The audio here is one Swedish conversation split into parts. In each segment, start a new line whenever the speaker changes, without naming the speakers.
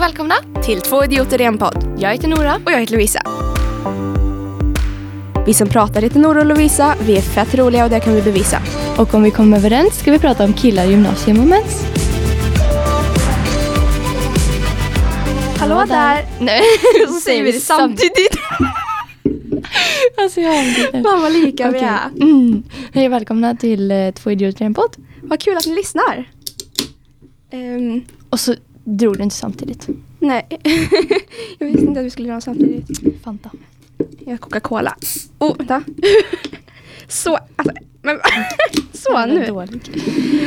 välkomna!
Till Två idioter i en podd.
Jag heter Nora.
Och jag heter Lovisa. Vi som pratar heter Nora och Lovisa. Vi är fett roliga och det kan vi bevisa.
Och om vi kommer överens ska vi prata om killar i gymnasium och mens.
Hallå där!
Nej,
Så säger vi det samtidigt.
Alltså jag har inte
Fan vad lika vi
Okej.
är.
Mm. Hej välkomna till eh, Två idioter i en podd.
Vad kul att ni lyssnar. Ehm,
Och så drog du inte samtidigt.
nej, jag visste inte att vi skulle göra dem samtidigt.
Fanta.
Jag har Coca-Cola. Oh, vänta. Så, alltså, men, så
Den är
nu.
dålig.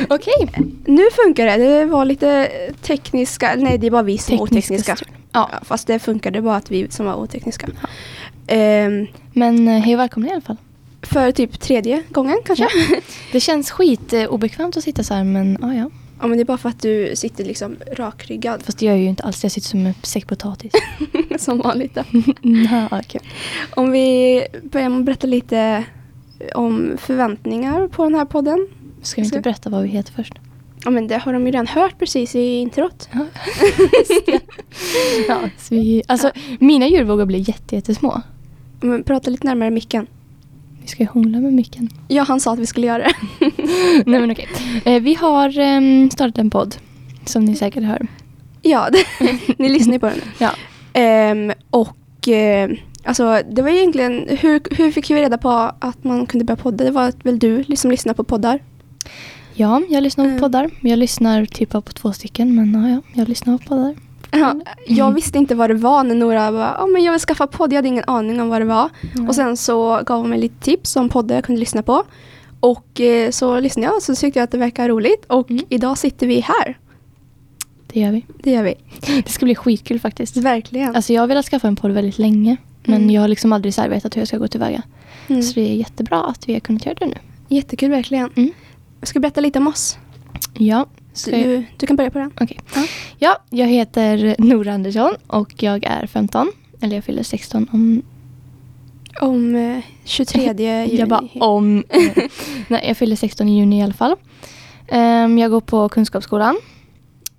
Okej.
Nu funkar det. Det var lite tekniska, nej det är bara vi som är
Tekniska
otekniska.
strul. Ja.
Ja, fast det funkade bara att vi som var otekniska. Ehm,
Men eh, hej och välkomna i alla fall.
för typ tredje gången kanske. Ja.
Det känns skit eh, obekvämt att sitta så här men ja ja.
men det är bara för att du sitter liksom rakryggad
Fast det gör jag ju inte alls. Jag sitter som en säck potatis.
som vanligt. Då.
Nja, kul.
Om vi börjar med att berätta lite om förväntningar på den här podden.
Ska vi inte
Ska-
berätta vad vi heter först?
Ja men det har de ju redan hört precis i introt.
Ja. ja, så vi, alltså, mina djur vågar bli jätte, jättesmå.
Men prata lite närmare micken.
Vi ska ju hångla med micken.
Ja han sa att vi skulle göra det.
Nej men okej. Eh, vi har ehm, startat en podd. Som ni säkert hör.
ja, det, ni lyssnar ju på den.
Ja.
Ehm, och eh, alltså det var egentligen, hur, hur fick vi reda på att man kunde börja podda? Det var väl du som lyssnade på poddar?
ja, jag lyssnar på
Mm.
poddar. Jag lyssnar typ bara på två stycken. Men ja, ja, jag lyssnar på poddar.
Ja, Mm. jag visste inte vad det var när Nora bara, ja men jag vill skaffa podd, jag hade ingen aning om vad det var.
Nej.
Och sen så gav hon mig lite tips om poddar jag kunde lyssna på. Och eh, så lyssnade jag och så tyckte jag att det verkar roligt och
Mm.
idag sitter vi här.
Det gör vi.
Det gör vi.
Det ska bli skitkul faktiskt.
Verkligen.
Alltså jag har velat skaffa en podd väldigt länge. Men
Mm.
jag har liksom aldrig så här vetat hur jag ska gå tillväga.
mm.
Så det är jättebra att vi har kunnat göra det nu.
Jättekul verkligen.
Mm.
Jag ska berätta lite om oss.
Ja. Ska jag-
Du, du kan börja på den.
Okej.
Ja.
Ja, jag heter Nora Andersson och jag är 15. Eller jag fyller 16 om...
Om eh, 23 juni.
Jag bara om... eh, Nej, jag fyller 16 i juni i alla fall. Ehm, jag går på Kunskapsskolan.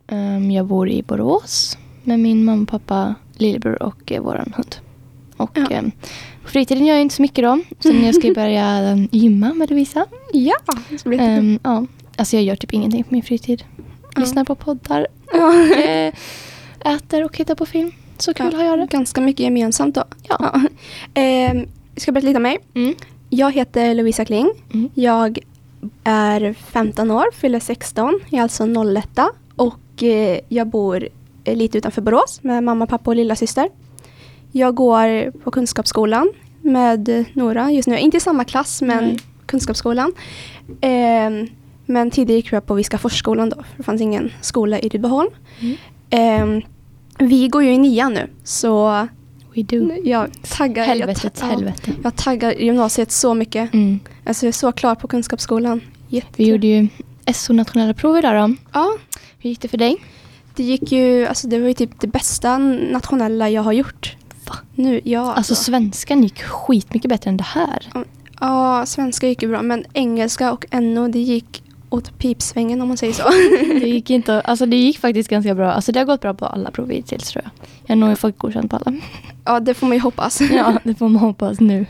Ehm, jag bor i Borås med min mamma, pappa, lillebror och eh, våran hund. Och
Ja.
ehm, på fritiden gör jag inte så mycket då. Sen jag ska ju börja eh, gymma med Lovisa.
Ja, det ska bli jättekul.
Ehm, ja. Alltså jag gör typ ingenting på min fritid.
Ja.
Lyssnar på poddar,
Ja.
eh, äter och hittar på film. Så kul har jag det.
Ganska mycket gemensamt då.
Ja.
Ehm, jag ska berätta lite om mig.
Mm.
Jag heter Lovisa Kling.
Mm.
Jag är 15 år, fyller 16. Jag är alltså 01 och eh, jag bor eh, lite utanför Borås med mamma, pappa och lilla syster. Jag går på Kunskapsskolan med Nora just nu. Inte i samma klass men
Nej.
Kunskapsskolan. Ehm, men tidigare gick jag på Viskaforsskolan då. För det fanns ingen skola i Rydboholm.
Mm.
Ehm, vi går ju i nian nu så
We do.
jag taggar, jag
Helvetet,
ta-
helvete.
jag taggar gymnasiet så mycket.
Mm.
Alltså jag är så klar på kunskapsskolan. Jättekul.
Vi gjorde ju SO nationella prov idag då.
Ja,
Hur gick det för dig?
det gick ju, alltså det var ju typ det bästa nationella jag har gjort.
Va?
Nu, ja.
Alltså svenskan gick skitmycket bättre än det här.
ja, svenska gick ju bra men engelska och NO det gick åt pipsvängen om man säger så.
Det gick, inte, alltså det gick faktiskt ganska bra. Alltså det har gått bra på alla prov hittills tror jag. Jag har nog fått godkänt på alla.
ja, det får man ju hoppas.
Ja, det får man hoppas nu.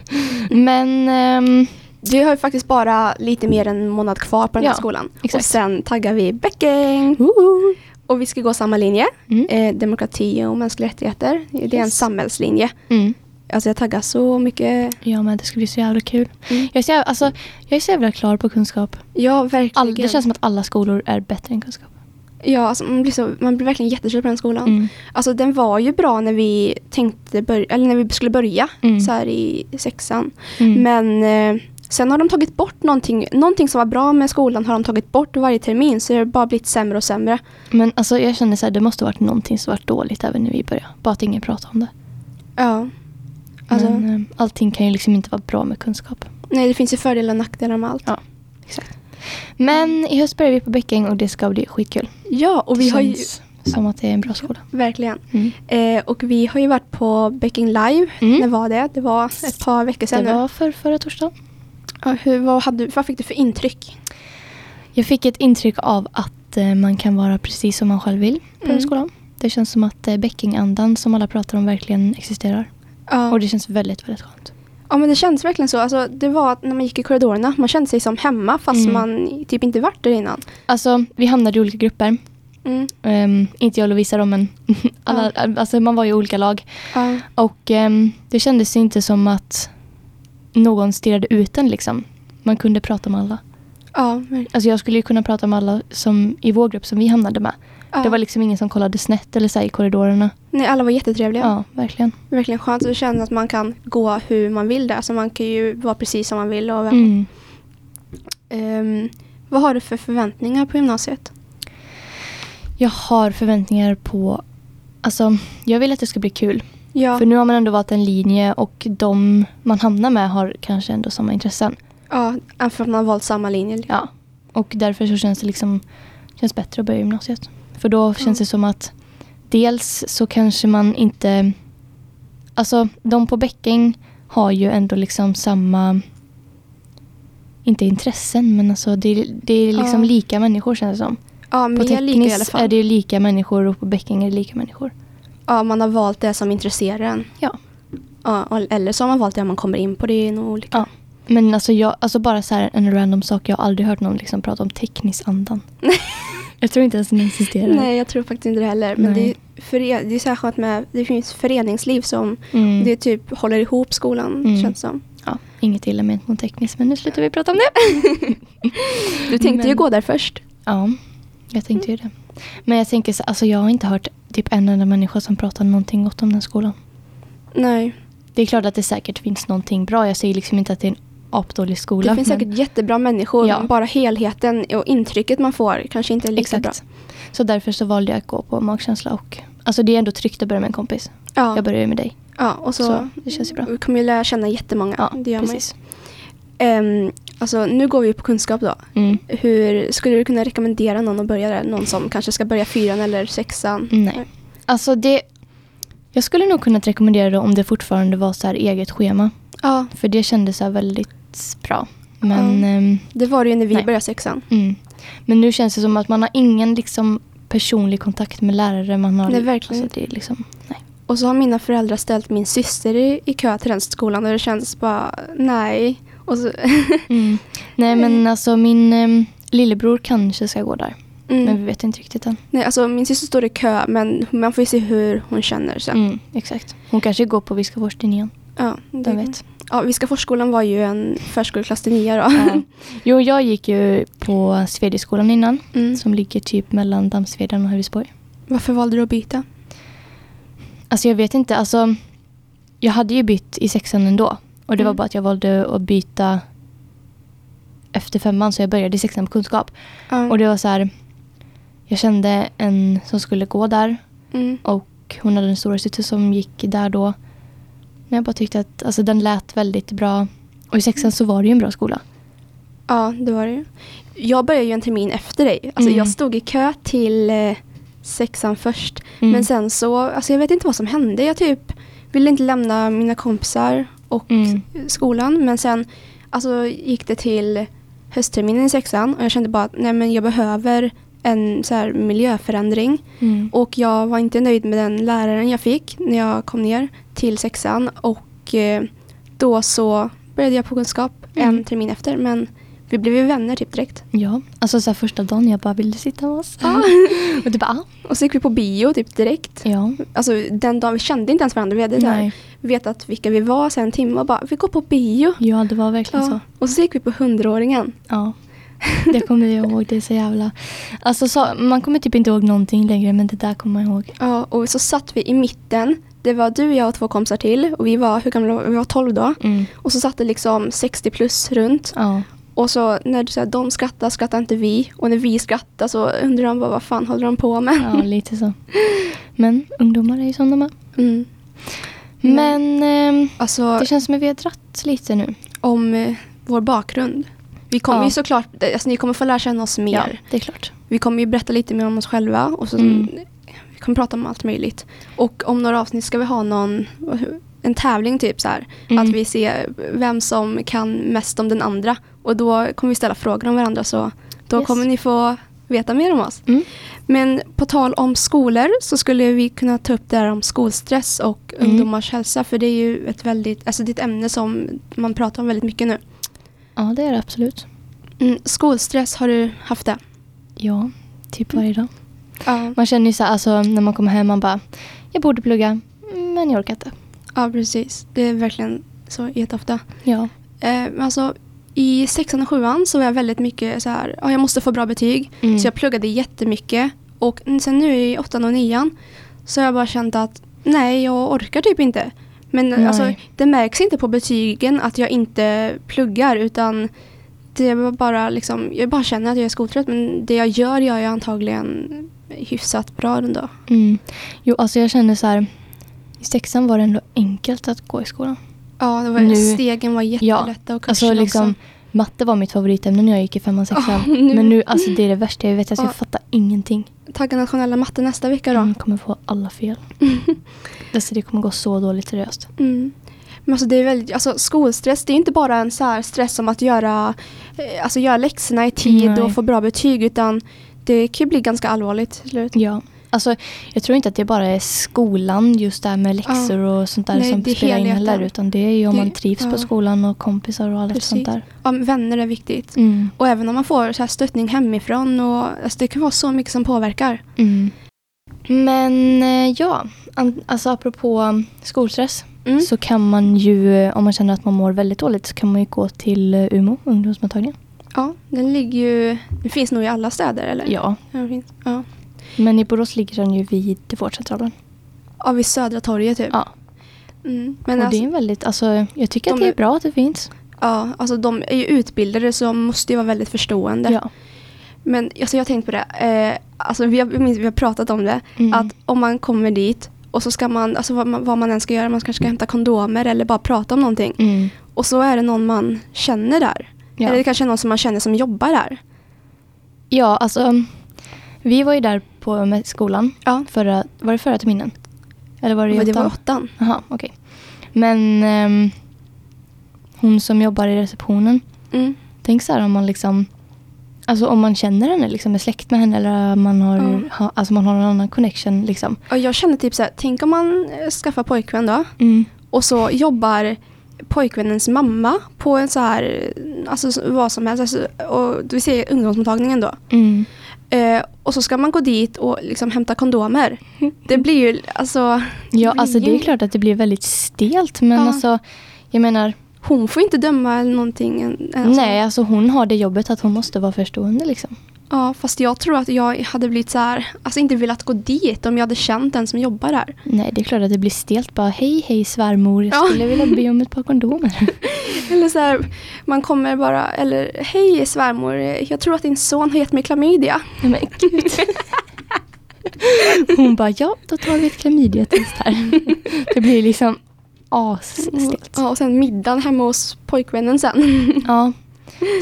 Men ehm,
Vi har ju faktiskt bara lite mer än en månad kvar på den här
Ja,
skolan.
exakt.
Och sen taggar vi Bäcking.
woho!
Och vi ska gå samma linje.
mm.
Eh, demokrati och mänskliga rättigheter. Det är en
Yes.
samhällslinje.
Mm.
Alltså jag taggar så mycket.
Ja men det ska bli så jävla kul.
Mm.
Jag är så jävla, alltså, jag är så jävla klar på kunskap.
Ja, verkligen.
All, det känns som att alla skolor är bättre än kunskap.
Ja, alltså man, blir så, man blir verkligen jättekär på den skolan.
Mm.
Alltså den var ju bra när vi tänkte börja, eller när vi skulle börja
Mm.
så här i sexan.
Mm.
Men eh, sen har de tagit bort någonting, någonting som var bra med skolan har de tagit bort varje termin så det har bara blivit sämre och sämre.
Men alltså jag känner så här, det måste ha varit någonting som varit dåligt även när vi började. Bara att ingen pratade om det.
Ja. Alltså,
Men eh, allting kan ju liksom inte vara bra med kunskap.
nej det finns ju fördelar och nackdelar med allt.
Ja. Exakt. Men i höst börjar vi på Bäcking och det ska bli skitkul.
Ja, och
det
vi har ju,
känns som att det är en bra skola.
verkligen.
Mm.
Eh, och vi har ju varit på Becking Live,
Mm.
när var det? Det var ett par veckor
Det
sedan. nu.
var för förra torsdagen.
Ja, hur, vad, hade, du- vad fick du för intryck?
Jag fick ett intryck av att eh, man kan vara precis som man själv vill på den
Mm.
skolan. Det känns som att eh, bäckingandan som alla pratar om verkligen existerar.
Ja.
Och det känns väldigt, väldigt skönt.
Ja men det känns verkligen så. Alltså, det var att när man gick i korridorerna, man kände sig som hemma fast
Mm.
man typ inte varit där innan.
Alltså, vi hamnade i olika grupper.
Mm.
Ehm, inte jag och Lovisa då, men alla, alltså, man var ju i olika lag.
Ja.
Och ehm, det kändes inte som att någon stirrade ut en liksom. Man kunde prata med alla.
Ja, ver-
Alltså jag skulle ju kunna prata med alla som, i vår grupp som vi hamnade med.
ja.
Det var liksom ingen som kollade snett eller så här i korridorerna.
Nej, alla var jättetrevliga.
Ja, verkligen.
Verkligen skönt. Det känns att man kan gå hur man vill där. Alltså, man kan ju vara precis som man vill. Och,
Mm.
Ehm, vad har du för förväntningar på gymnasiet?
Jag har förväntningar på... Alltså, jag vill att det ska bli kul.
Ja,
För nu har man ändå valt en linje och de man hamnar med har kanske ändå samma intressen.
ja även för att man har valt samma linje. liksom.
Ja. Och därför så känns det liksom känns bättre att börja gymnasiet. För då känns det som att dels så kanske man inte... Alltså, de på Bäcking har ju ändå liksom samma... Inte intressen, men alltså det, är- det är liksom
Ja.
lika människor känns det som.
Ja,
På
mer lika i alla
tekniskt
fall.
är det ju lika människor och på Bäcking är det lika människor.
Ja, man har valt det som intresserar en.
Ja.
Ja, och- eller så har man valt det man kommer in på. Det är nog olika.
ja. Men alltså, jag, alltså bara så här en random sak. Jag har aldrig hört någon liksom prata om teknisandan. jag tror inte ens den existerar.
Nej, jag tror faktiskt inte det heller. Men det
Nej.
är, före, det är särskilt med det finns föreningsliv som
Mm.
det typ håller ihop skolan
Mm.
känns som.
Ja, inget illa ment mot tekniskt men nu slutar vi prata om det.
Du tänkte
Men-
ju gå där först.
Ja, jag tänkte ju det. Men jag tänker så, alltså jag har inte hört typ en enda människa som pratar någonting gott om den skolan.
Nej,
Det är klart att det säkert finns någonting bra. Jag säger liksom inte att det är en apdålig skola.
det finns
men-
säkert jättebra människor.
Ja.
men Bara helheten och intrycket man får kanske inte är lika
Exakt.
bra.
Så därför så valde jag att gå på magkänsla och alltså det är ändå tryggt att börja med en kompis.
Ja,
Jag börjar ju med dig.
ja och så,
Så det känns ju bra.
Vi kommer ju lära känna jättemånga.
Ja,
det gör
precis.
man ju. Ehm, alltså, nu går vi på kunskap då.
Mm.
Hur skulle du kunna rekommendera någon att börja där? Någon som kanske ska börja fyran eller sexan?
Nej. Alltså det... Jag skulle nog kunnat rekommendera det om det fortfarande var så här eget schema.
Ja,
För det kändes så här väldigt bra. Men...
Ja.
ehm,
det var det ju när vi
Nej.
började sexan.
Mm. Men nu känns det som att man har ingen liksom, personlig kontakt med lärare. Man har,
Nej, verkligen
Alltså, det är liksom, nej.
Och så har mina föräldrar ställt min syster i, i kö till den skolan och det känns bara nej. Och så,
Mm. nej, men alltså min em, lillebror kanske ska gå där.
Mm.
Men vi vet inte riktigt än.
nej, alltså min syster står i kö men man får ju se hur hon känner sen.
Mm, exakt. Hon kanske går på Viskaforsten igen.
Ja, det,
Vem vet.
Ja, Viskaforsskolan var ju en förskoleklass till nya då.
Ja. Jo, jag gick ju på Svedjeskolan innan.
Mm.
Som ligger typ mellan Dammsvedan och Hövisborg.
Varför valde du att byta?
Alltså jag vet inte. Alltså, jag hade ju bytt i sexan ändå. Och det var
Mm.
bara att jag valde att byta efter femman. Så jag började i sexan på kunskap.
Ja.
Och det var så här. Jag kände en som skulle gå där.
mm.
Och hon hade en storasyster som gick där då. Men jag bara tyckte att alltså, den lät väldigt bra. Och i sexan så var det ju en bra skola.
ja, det var det ju. Jag började ju en termin efter dig. Alltså,
Mm.
Jag stod i kö till eh, sexan först.
Mm.
Men sen så, alltså, jag vet inte vad som hände. Jag typ ville inte lämna mina kompisar och
Mm.
skolan. Men sen alltså, gick det till höstterminen i sexan och jag kände bara att nej, men jag behöver en så här, miljöförändring.
Mm.
Och jag var inte nöjd med den läraren jag fick när jag kom ner till sexan. Och eh, då så började jag på kunskap
Mm.
en termin efter. Men vi blev ju vänner typ direkt.
Ja, alltså så här, första dagen jag bara ville sitta med oss. och du bara, ah.
Och så gick vi på bio typ direkt.
ja.
Alltså den dagen vi kände inte ens varandra. Vi hade så här,
Nej.
vetat vilka vi var sen en timme och bara vi går på bio.
Ja, det var verkligen så.
Ja. Och så gick vi på hundraåringen.
Ja. Det kommer jag ihåg, det är så jävla... Alltså så, man kommer typ inte ihåg någonting längre men det där kommer man ihåg.
Ja, och så satt vi i mitten. Det var du, jag och två kompisar till. Och vi var, hur gamla var vi? Vi var 12 då.
Mm.
Och så satt det liksom 60 plus runt.
Ja.
Och så när du säger att de skrattar, skrattar inte vi. Och när vi skrattar så undrar de bara, vad fan håller de på med?
ja, lite så. Men ungdomar är ju som de är.
Mm.
Mm. Men ehm,
Alltså
det känns som att vi har dratt lite nu.
om eh, vår bakgrund. Vi kommer
Ja.
ju såklart, alltså, ni kommer få lära känna oss mer.
Ja, det är klart.
Vi kommer ju berätta lite mer om oss själva. Och så,
Mm.
Vi kommer prata om allt möjligt. Och om några avsnitt ska vi ha någon, en tävling typ så här.
Mm.
Att vi ser vem som kan mest om den andra. Och då kommer vi ställa frågor om varandra. Så då
Yes.
kommer ni få veta mer om oss.
Mm.
Men på tal om skolor så skulle vi kunna ta upp det här om skolstress och
Mm.
ungdomars hälsa. För det är ju ett väldigt, alltså det är ett ämne som man pratar om väldigt mycket nu.
Ja, det är det absolut.
Mm, skolstress, har du haft det?
Ja, typ varje dag.
Ja,
Man känner ju så här, alltså när man kommer hem, man bara, jag borde plugga, men jag orkar inte.
ja precis. Det är verkligen så jätteofta.
Ja.
Eh, men alltså, I sexan och sjuan så var jag väldigt mycket så här, ja, jag måste få bra betyg.
Mm.
Så jag pluggade jättemycket. Och n- sen nu i åttan och nian så har jag bara känt att nej, jag orkar typ inte. Men
Nej.
alltså, det märks inte på betygen att jag inte pluggar utan det var bara liksom, jag bara känner att jag är skoltrött men det jag gör gör jag antagligen hyfsat bra ändå.
Mm. Jo, alltså jag känner så här, i sexan var det ändå enkelt att gå i skolan.
Ja, det var,
Nu-
stegen var jättelätta och kurserna
alltså liksom,
också.
matte var mitt favoritämne när jag gick i femman, sexan.
Ja, nu-
Men nu, alltså det är det värsta jag vet, alltså,
Ja.
jag fattar ingenting.
Tagga nationella matte nästa vecka då.
Jag kommer få alla fel. Alltså det kommer gå så dåligt seriöst.
Mm. Men alltså det är väldigt, alltså skolstress det är inte bara en så här stress om att göra, eh, alltså göra läxorna i tid
Nej.
och få bra betyg utan det kan ju bli ganska allvarligt till slut.
Ja. Alltså, jag tror inte att det bara är skolan, just det här med läxor och sånt där
Nej,
som
det är
spelar in heller.
helheten.
Utan det är ju om
Det-
man trivs
ja.
på skolan och kompisar och allt sånt där.
Ja, men vänner är viktigt.
Mm.
Och även om man får så här stöttning hemifrån och alltså det kan vara så mycket som påverkar.
Mm. Men eh, ja, an- alltså apropå skolstress
Mm.
så kan man ju, eh, om man känner att man mår väldigt dåligt, så kan man ju gå till eh, UMO, ungdomsmottagningen.
Ja, den ligger ju, den finns nog i alla städer eller?
Ja,
Den finns- Ja,
men i Borås ligger den ju vid vårdcentralen.
ja vid Södra torget typ.
Ja,
Mm.
och
Men
det är
alltså,
en väldigt, alltså jag tycker att
De
det är
är-
bra att det finns.
ja, alltså de är ju utbildade så de måste ju vara väldigt förstående.
Ja.
Men alltså, jag har tänkt på det. Eh, alltså, vi, har, jag minns, vi har pratat om det.
Mm.
Att om man kommer dit och så ska man, alltså vad man, vad man än ska göra, man kanske ska hämta kondomer eller bara prata om någonting.
Mm.
Och så är det någon man känner där.
Ja.
Eller det kanske är någon som man känner som jobbar där.
ja, alltså vi var ju där på eh, med skolan,
Ja,
förra, var det förra terminen? Eller var det i
det var
åttan?
åttan.
Jaha, okej. Men ehm, hon som jobbar i receptionen,
Mm.
tänk så här om man liksom Alltså om man känner henne, liksom är släkt med henne eller man har,
Ja.
ha, alltså man har en annan connection liksom.
Och jag känner typ så här, tänk om man eh, skaffar pojkvän då.
Mm.
Och så jobbar pojkvännens mamma på en så här, alltså så- vad som helst. Alltså, och vi ser ungdomsmottagningen då.
Mm.
Eh, och så ska man gå dit och liksom hämta kondomer. Det blir ju alltså...
Ja,
blir
alltså det är
ju-
klart att det blir väldigt stelt men
Ja.
alltså jag menar,
Hon får inte döma eller någonting. än- än, Alltså.
nej alltså hon har det jobbet att hon måste vara förstående liksom.
Ja, fast jag tror att jag hade blivit så här, alltså inte velat gå dit om jag hade känt den som jobbar där.
Nej, det är klart att det blir stelt bara hej hej svärmor, jag
Ja.
skulle vilja be om ett par kondomer.
Eller så här, man kommer bara, eller hej svärmor, jag tror att din son har gett mig klamydia.
Nej, men gud. Hon bara, ja då tar vi ett klamydiatest här. Det blir liksom asstelt.
Ja, och sen middagen hemma hos pojkvännen sen.
Ja.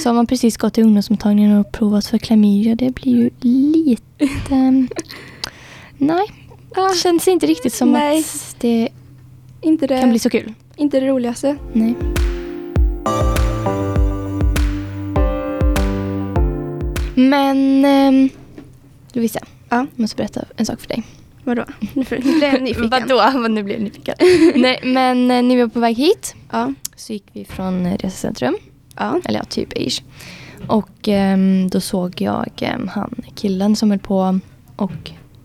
Så har man precis gått till ungdomsmottagningen och provat för klamydia, det blir ju lite... ehm, Nej,
Ja,
det känns inte riktigt som
Nej.
att det
inte,
kan bli
det,
så kul.
inte det roligaste.
Nej. Men ehm, Lovisa,
Ja.
jag måste berätta en sak för dig.
Vadå? Nu får- nu blir jag nyfiken.
Vadå? Nu blev jag nyfiken. Nej, men eh, när vi var på väg hit
Ja.
så gick vi från eh, resecentrum,
Ja.
eller ja, typ ish. Och ehm, då såg jag ehm, han killen som höll på och,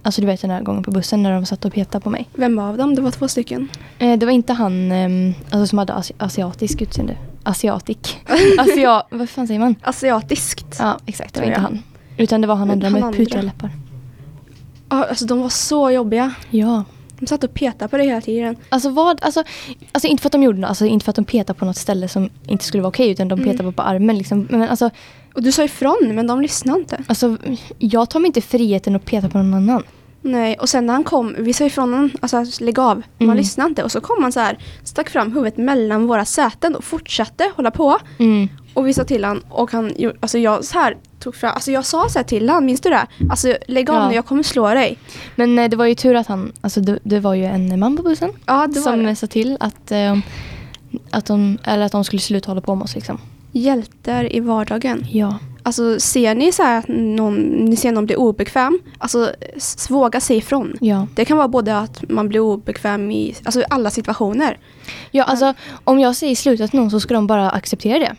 alltså du vet den här gången på bussen när de satt och petade på mig.
Vem av dem? Det var två stycken.
Eh, det var inte han ehm, alltså, som hade asi- asiatisk utseende. Asiatik. Asia, vad fan säger man?
Asiatiskt.
Ja, exakt. Det var
Tror
inte han.
jag.
Utan det var han
Men
andra
han
med
andra.
putriga läppar.
Ja, alltså de var så jobbiga.
Ja.
De satt och petade på det hela tiden.
Alltså vad, alltså, alltså inte för att de gjorde något, alltså inte för att de petade på något ställe som inte skulle vara okej utan de
Mm.
petade bara på armen liksom. Men alltså,
Och du sa ifrån, men de lyssnade inte.
alltså, jag tar mig inte friheten att peta på någon annan.
Nej, och sen när han kom, vi sa ifrån honom, alltså lägg av. Man
Mm.
lyssnade inte. Och så kom han så här, stack fram huvudet mellan våra säten och fortsatte hålla på.
Mm.
Och vi sa till han och han gjorde, alltså jag så här tog fram, alltså jag sa så här till han, minns du det? Alltså lägg av
Ja.
nu, jag kommer slå dig.
Men eh, det var ju tur att han, alltså det, det var ju en man på bussen
Ja, det var
som
det.
sa till att, eh, att, de, eller att de skulle sluta hålla på med oss liksom.
Hjältar i vardagen.
Ja.
Alltså ser ni så här att någon, ni ser någon bli obekväm, alltså s- våga säga ifrån.
Ja.
Det kan vara både att man blir obekväm i alltså, i alla situationer.
ja, alltså om jag säger sluta till någon så ska de bara acceptera det.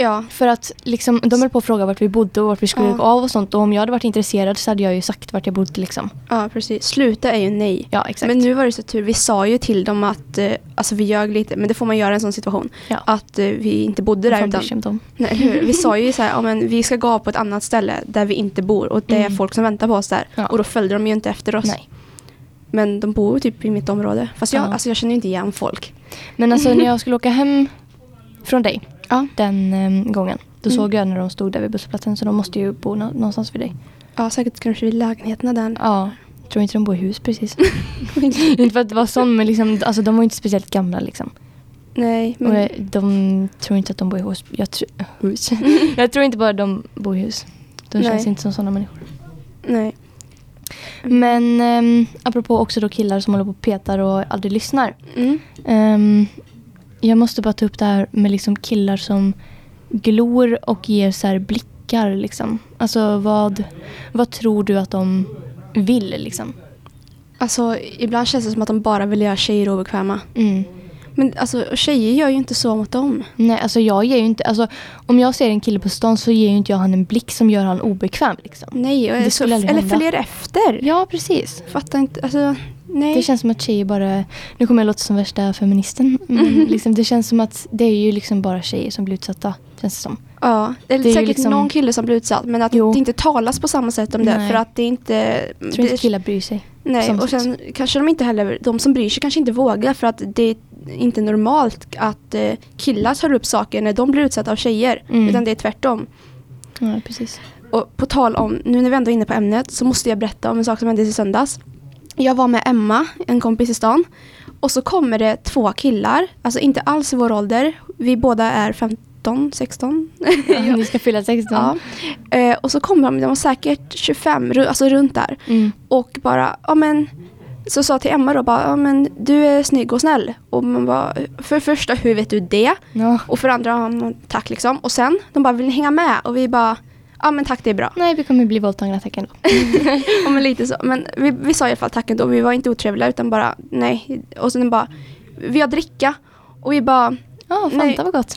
Ja,
För att liksom, de höll på att fråga vart vi bodde och vart vi skulle
Ja.
gå av och sånt. Och om jag hade varit intresserad så hade jag ju sagt vart jag bodde liksom.
ja precis. Sluta är ju nej.
Ja, exakt.
Men nu var det så tur, vi sa ju till dem att, eh, alltså vi ljög lite, men det får man göra i en sån situation,
Ja.
att eh, vi inte bodde
det
där.
där
Utan,
utan...
nej, eller hur? Vi sa ju så här, ja, men vi ska gå av på ett annat ställe där vi inte bor och det är
Mm.
folk som väntar på oss där.
Ja.
Och då följde de ju inte efter oss.
Nej.
Men de bor ju typ i mitt område. Fast jag,
Ja.
alltså, jag känner ju inte igen folk.
Men alltså när jag skulle åka hem från dig
Ja.
den eh, gången. Då
Mm.
såg jag när de stod där vid busshållplatsen så de måste ju bo nå- någonstans vid dig.
Ja, säkert kanske vid lägenheterna där.
Ja, tror inte de bor i hus precis. inte för att det var sån men liksom, alltså, de var ju inte speciellt gamla liksom.
Nej, men
Och det, de tror inte att de bor i hus. Jag, tr- hus. jag tror inte bara de bor i hus. De känns
Nej.
inte som sådana människor.
nej.
Men um, apropå också då killar som håller på och petar och aldrig lyssnar.
Mm.
Ehm, jag måste bara ta upp det här med liksom killar som glor och ger så här blickar. Liksom. Alltså vad, vad tror du att de vill? Liksom?
Alltså, ibland känns det som att de bara vill göra tjejer obekväma.
Mm.
Men alltså, tjejer gör ju inte så mot dem.
Nej, alltså jag ger ju inte, alltså, om jag ser en kille på stan så ger ju inte jag han en blick som gör han obekväm. Liksom.
Nej, och
Det
så,
skulle aldrig
eller
hända.
följer efter.
Ja, precis.
Fattar inte, alltså, nej.
Det känns som att tjejer bara, nu kommer jag låta som värsta feministen, men
Mm.
liksom, det känns som att det är ju liksom bara tjejer som blir utsatta, känns det som.
ja, det är
det är ju
säkert
liksom-
någon kille som blir utsatt, men att
Jo.
det inte talas på samma sätt om det,
Nej.
för att det är inte...
Jag
det-
tror inte killar bryr sig. på
Nej,
samma
och
sätt.
sen kanske de inte heller, de som bryr sig kanske inte vågar för att det är inte normalt att eh, killar tar upp saker när de blir utsatta av tjejer,
Mm.
utan det är tvärtom.
Ja, precis.
Och på tal om, nu när vi ändå är inne på ämnet så måste jag berätta om en sak som hände i söndags. Jag var med Emma, en kompis i stan. Och så kommer det två killar, alltså inte alls i vår ålder. Vi båda är 15, 16.
Ja, ni ska fylla 16.
ja. Eh, och så kommer de, de var säkert 25, ru- alltså runt där.
Mm.
Och bara, ja men så sa jag till Emma då bara, ja men du är snygg och snäll. Och man bara, för det första hur vet du det?
Ja.
Och för det andra, ja, men tack liksom. Och sen, de bara, vill ni hänga med? Och vi bara, ja men tack det är bra.
Nej, vi kommer bli våldtagna tack ändå.
ja, men lite så. Men vi, vi sa i alla fall tack ändå. Vi var inte otrevliga utan bara nej. Och sen bara, vi har dricka. Och vi bara,
Ja,
Nej.
Fanta var gott.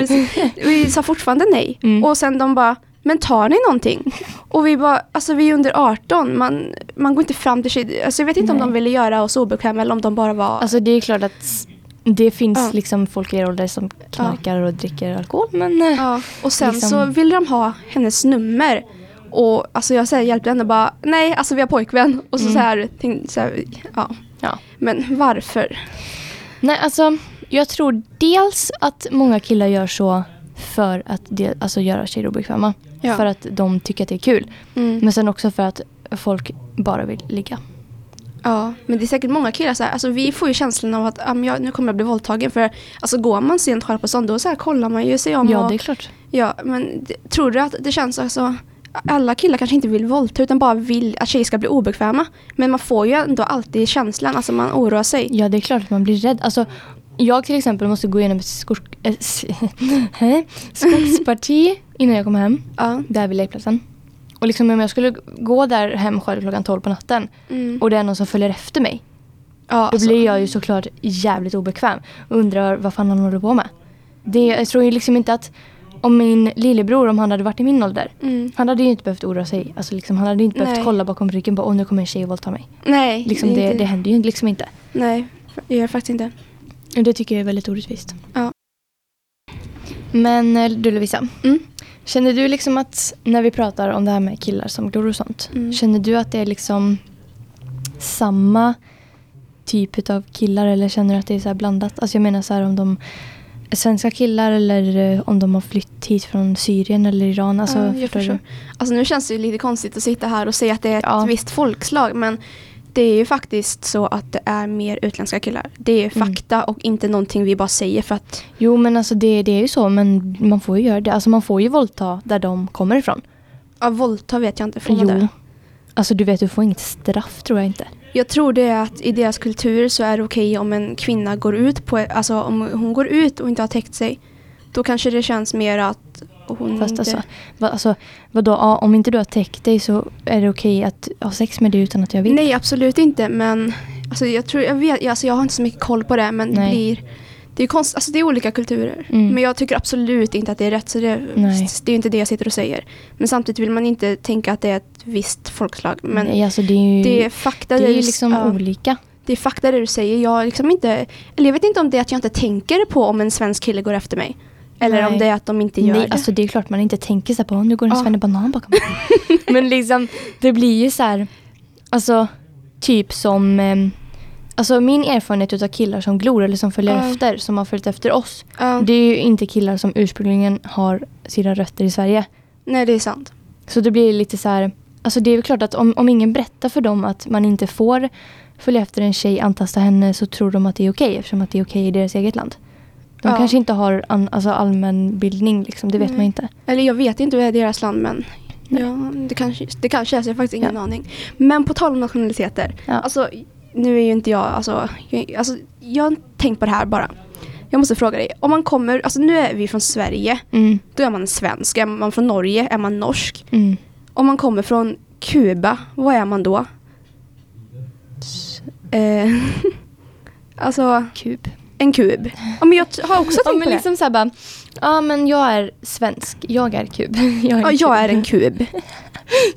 precis. vi sa fortfarande nej.
Mm.
Och sen de bara, men tar ni någonting? Och vi bara, alltså vi är under 18. Man, man går inte fram till tjejer. Alltså jag vet inte om
Nej.
de ville göra oss obekväma eller om de bara var,
Alltså det är klart att det finns
Ja.
liksom folk i er ålder som knarkar och dricker alkohol, men... eh,
ja. Och sen
liksom-
så ville de ha hennes nummer. Och alltså jag så här, hjälpte henne och bara, nej alltså vi har pojkvän. Och så,
Mm.
så här, tänkte, så här, ja.
Ja.
Men varför?
Nej, alltså jag tror dels att många killar gör så för att de, alltså, göra tjejer obekväma.
Ja.
För att de tycker att det är kul.
Mm.
Men sen också för att folk bara vill ligga.
Ja, men det är säkert många killar så här. Alltså, vi får ju känslan av att ah, men jag, nu kommer jag bli våldtagen. För alltså, går man sent själv på sån, då så här, kollar man ju sig om.
Ja,
och,
det är klart.
ja, men d- tror du att det känns alltså... Alla killar kanske inte vill våldta utan bara vill att tjejer ska bli obekväma. Men man får ju ändå alltid känslan, alltså man oroar sig.
Ja, det är klart att man blir rädd. Alltså, jag till exempel måste gå igenom ett skog, äh, s- hä? skogsparti innan jag kommer hem.
Ja.
Där vid lekplatsen. Och liksom om jag skulle gå där hem själv klockan 12 på natten
Mm.
och det är någon som följer efter mig.
ja,
Då blir jag ju såklart jävligt obekväm och undrar vad fan han håller på med. Det, jag tror ju liksom inte att om min lillebror, om han hade varit i min ålder,
Mm.
han hade ju inte behövt oroa sig. Alltså liksom, han hade ju inte behövt
Nej.
kolla bakom ryggen bara åh nu kommer en tjej och våldta mig.
Nej,
Liksom, det,
inte-
det händer ju liksom inte.
Nej, jag gör faktiskt inte.
Och det tycker jag är väldigt orättvist.
Ja.
Men eh, du Lovisa,
Mm.
känner du liksom att när vi pratar om det här med killar som glor och sånt,
Mm.
känner du att det är liksom samma typ av killar eller känner du att det är så här blandat? Alltså jag menar så här om de är svenska killar eller eh, om de har flytt hit från Syrien eller Iran. Alltså,
Ja, jag
förstår du?
förstår. Alltså nu känns det ju lite konstigt att sitta här och säga att det är ett
Ja.
visst folkslag men det är ju faktiskt så att det är mer utländska killar. Det är
Mm.
fakta och inte någonting vi bara säger för att
Jo men alltså det, det är ju så men man får ju göra det. Alltså man får ju våldta där de kommer ifrån.
ja, våldta vet jag inte från
jo.
det.
Alltså du vet du får inget straff tror jag inte.
Jag tror det är att i deras kultur så är det okej om en kvinna går ut på, alltså om hon går ut och inte har täckt sig. Då kanske det känns mer att Och hon
Fast
inte-
alltså, va, alltså vadå, ja, om inte du har täckt dig så är det okej att ha sex med dig utan att jag vill?
Nej, absolut inte. Men alltså, jag, tror, jag, vet, alltså, jag har inte så mycket koll på det. Men
Nej.
det blir... Det är, konst, alltså, det är olika kulturer.
Mm.
Men jag tycker absolut inte att det är rätt. Så det,
Nej.
det är ju inte det jag sitter och säger. Men samtidigt vill man inte tänka att det är ett visst folkslag. Men
Nej, alltså det är ju,
det är fakta.
det är
du-
ju liksom
ja,
olika.
det är fakta det du säger. Jag, har liksom inte, eller jag vet inte om det är att jag inte tänker på om en svensk kille går efter mig. Eller
Nej.
om det är att de inte gör
Nej,
det.
alltså det är klart man inte tänker så här på nu går en
Ja.
svennebanan bakom mig. Men liksom det blir ju så här alltså typ som ehm, alltså min erfarenhet utav killar som glor eller som följer
Ja.
efter som har följt efter oss.
Ja.
Det är ju inte killar som ursprungligen har sina rötter i Sverige.
Nej, det är sant.
Så det blir lite så här alltså det är ju klart att om, om ingen berättar för dem att man inte får följa efter en tjej, antasta henne så tror de att det är okej eftersom att det är okej i deras eget land. De
Ja.
kanske inte har an, alltså allmän bildning liksom, det vet man
Nej.
inte.
Eller jag vet inte hur det är i deras land men
Nej.
ja, det, kanske, det kanske är så, jag har faktiskt ingen
Ja.
aning. Men på tal om nationaliteter.
Ja.
Alltså, nu är ju inte jag, alltså, jag, alltså, jag har tänkt på det här bara. Jag måste fråga dig, om man kommer, alltså nu är vi från Sverige,
Mm.
då är man svensk. Är man från Norge, är man norsk.
Mm.
Om man kommer från Kuba, vad är man då? Eh, alltså,
Kub.
en kub. Ja, men jag t- har också
Ja,
tänkt
men
på
liksom så här bara, ja men jag är svensk, jag är kub. Jag
det. Ja, jag är en kub.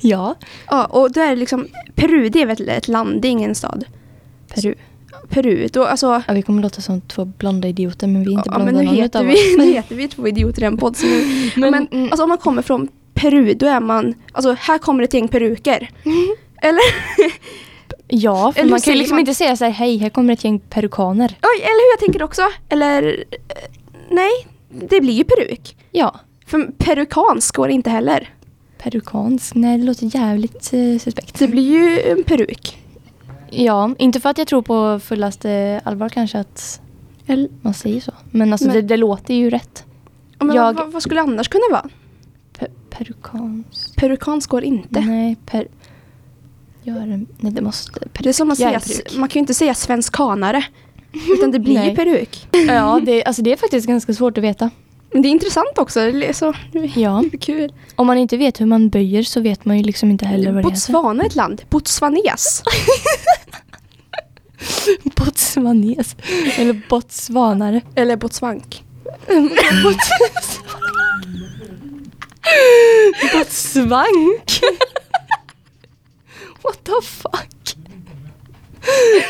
Ja.
Ja, och då är det liksom, Peru det är väl ett land, det är ingen stad.
Peru.
Peru. Då, alltså,
Ja, vi kommer låta som två blonda idioter men vi är inte
ja,
blonda
men nu
någon
heter,
utav
vi, nu
oss.
heter vi två idioter i en podd. Så nu,
Men-
men
mm.
alltså, om man kommer från Peru, då är man... Alltså, här kommer ett gäng peruker. Eller,
Ja, för
Eller hur
man kan ju
säger
liksom
man?
inte säga så här, hej här kommer ett gäng perukaner.
oj, eller hur jag tänker också. Eller, eh, nej, det blir ju peruk.
Ja.
För perukansk går inte heller.
Perukansk, nej det låter jävligt eh, suspekt.
Det blir ju en peruk.
Ja, inte för att jag tror på fullaste allvar kanske att
Eller,
man säger så. Men alltså
Men-
Det, det låter ju rätt.
ja, men
Jag-
vad, vad skulle det annars kunna vara?
Pe- perukansk.
Perukansk går inte.
Nej, per... Jag är en... Nej, det måste...
Det är som att
Jag är
säga,
en peruk.
man kan ju inte säga svenskanare. Utan det blir
Nej.
ju peruk.
Ja, det, alltså det är faktiskt ganska svårt att veta.
Men det är intressant också. Det är så det är
Ja.
kul.
Om man inte vet hur man böjer så vet man ju liksom inte heller vad
Botswana är ett land. Botswanes.
det heter. Botswanes. Eller botsvanare.
Eller botswank.
Bots- Botsvank. What the fuck?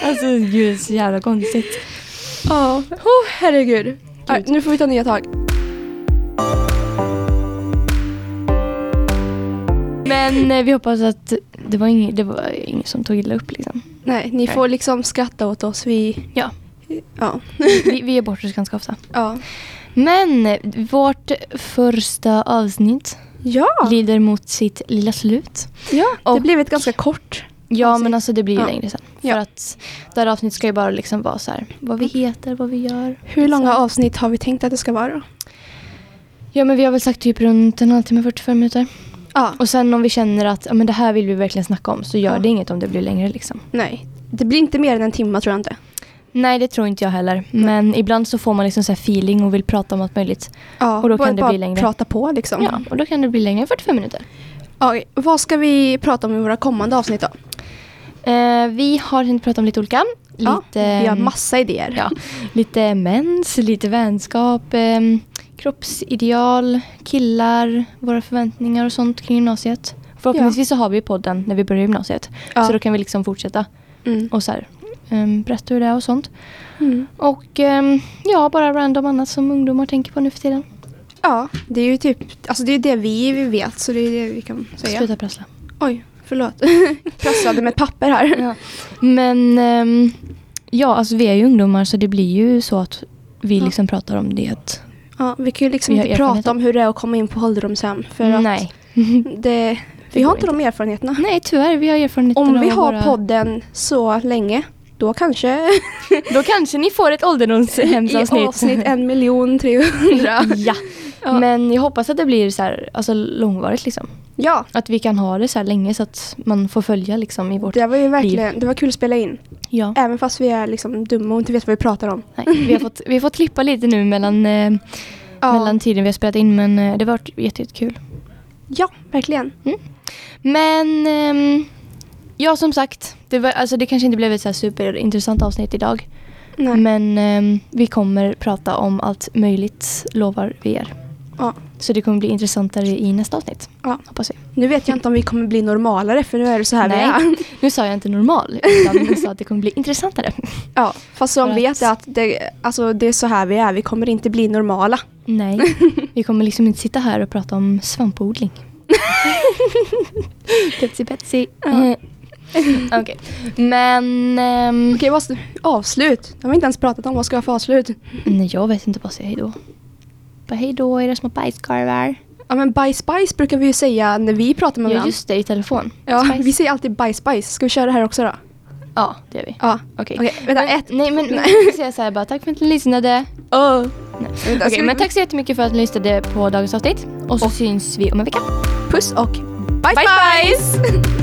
Alltså gud, det är så jävla konstigt.
Ja. Oh, herregud. Nej, nu får vi ta nya tag.
Men eh, vi hoppas att det var ingen, det var ingen som tog illa upp liksom.
Nej, ni
Nej.
får liksom skratta åt oss. Vi...
Ja,
Ja.
vi, vi är bort oss ganska ofta.
ja.
Men eh, vårt första avsnitt
Ja,
lider mot sitt lilla slut.
ja. det
Och-
blev ett ganska kort.
Ja,
Avsnitt.
men alltså det blir ju
Ja.
längre sen.
Ja.
För att det här avsnittet ska ju bara liksom vara så här, vad vi heter, vad vi gör.
Hur långa
Så.
avsnitt har vi tänkt att det ska vara?
Ja, men vi har väl sagt typ runt en halvtimme, 45 minuter.
Ja.
Och sen om vi känner att ja, men det här vill vi verkligen snacka om så gör
Ja.
det inget om det blir längre liksom.
Nej. Det blir inte mer än en timme tror jag inte.
Nej, det tror inte jag heller. Men ibland så får man liksom så här feeling och vill prata om allt möjligt.
Ja,
Och då
bara-
kan det
bara
bli längre.
prata på liksom.
Ja, och då kan det bli längre än 45 minuter.
Ja, okej. vad ska vi prata om i våra kommande avsnitt då?
Eh, vi har tänkt prata om lite olika.
Ja,
Lite, mm,
vi har massa idéer.
ja, lite mens, lite vänskap, ehm, kroppsideal, killar, våra förväntningar och sånt kring gymnasiet. Förhoppningsvis så har vi podden när vi börjar gymnasiet.
Ja.
Så då kan vi liksom fortsätta
Mm.
och så här, ehm, berätta hur det är och sånt.
Mm.
Och ehm, ja, bara random annat som ungdomar tänker på nu för tiden.
Ja, det är ju typ, alltså det är det vi vi vet så det är det vi kan säga.
Sluta prassla.
Oj, förlåt. Prassade med papper här.
Ja. Men ehm, ja, alltså vi är ju ungdomar så det blir ju så att vi
Ja.
liksom pratar om det. Att,
Ja, vi kan ju liksom
Vi har
inte prata
erfarenheter.
om hur det är att komma in på ålderdomshem för att
nej.
det, vi
går
har inte de erfarenheterna.
nej, tyvärr. Vi har erfarenhet
Om vi
av
har
våra-
podden så länge, då kanske
Då kanske ni får ett
i
ålderdomshemsavsnitt.
avsnitt en miljon 300.
ja.
Ja.
Men jag hoppas att det blir så här, alltså långvarigt liksom.
Ja,
Att vi kan ha det så här länge så att man får följa liksom i vårt...
det var ju verkligen, det var kul att spela in.
Ja.
Även fast vi är liksom dumma och inte vet vad vi pratar om.
Nej, vi, har fått, vi har fått klippa lite nu mellan eh,
Ja.
mellan tiden vi har spelat in men eh, det har varit jätte- jättekul. Mm.
Ja, verkligen.
Men ehm, ja, som sagt, det, var, alltså, det kanske inte blev ett så här superintressant avsnitt idag.
Nej.
Men ehm, vi kommer prata om allt möjligt, lovar vi er.
Ja.
Så det kommer bli intressantare i nästa avsnitt,
Ja.
hoppas vi.
Nu vet jag inte om vi kommer bli normalare för nu är det så här vi
Nej,
är.
nu sa jag inte normal, utan jag sa att det kommer bli intressantare.
Ja, fast som
För att-
vet att det, alltså, det är så här vi är. Vi kommer inte bli normala.
Nej, vi kommer liksom inte sitta här och prata om svampodling. Pepsi Pepsi.
Ja.
Okej, men... ehm,
Okej, vad, avslut. Det har vi inte ens pratat om. Vad ska jag för avslut?
Nej, jag vet inte bara säga hejdå. Bara hejdå, era små bajskorvar.
Ja, men bajs, bajs brukar vi ju säga när vi pratar med
Ja,
varandra.
just det, i telefon.
Ja,
Spice.
vi säger alltid bajs, bajs. Ska vi köra det här också då?
Ja, det gör vi.
Ja.
Okej.
vänta,
Men-
ett.
Nej, men
Nej.
vi säger så här bara tack för att ni lyssnade.
Åh.
Nej.
Vänta,
Oh. Okej,
ska vi-
men tack så jättemycket för att ni lyssnade på dagens avsnitt. Och så syns vi om en vecka.
Puss och bajs,
Bajs,
bajs!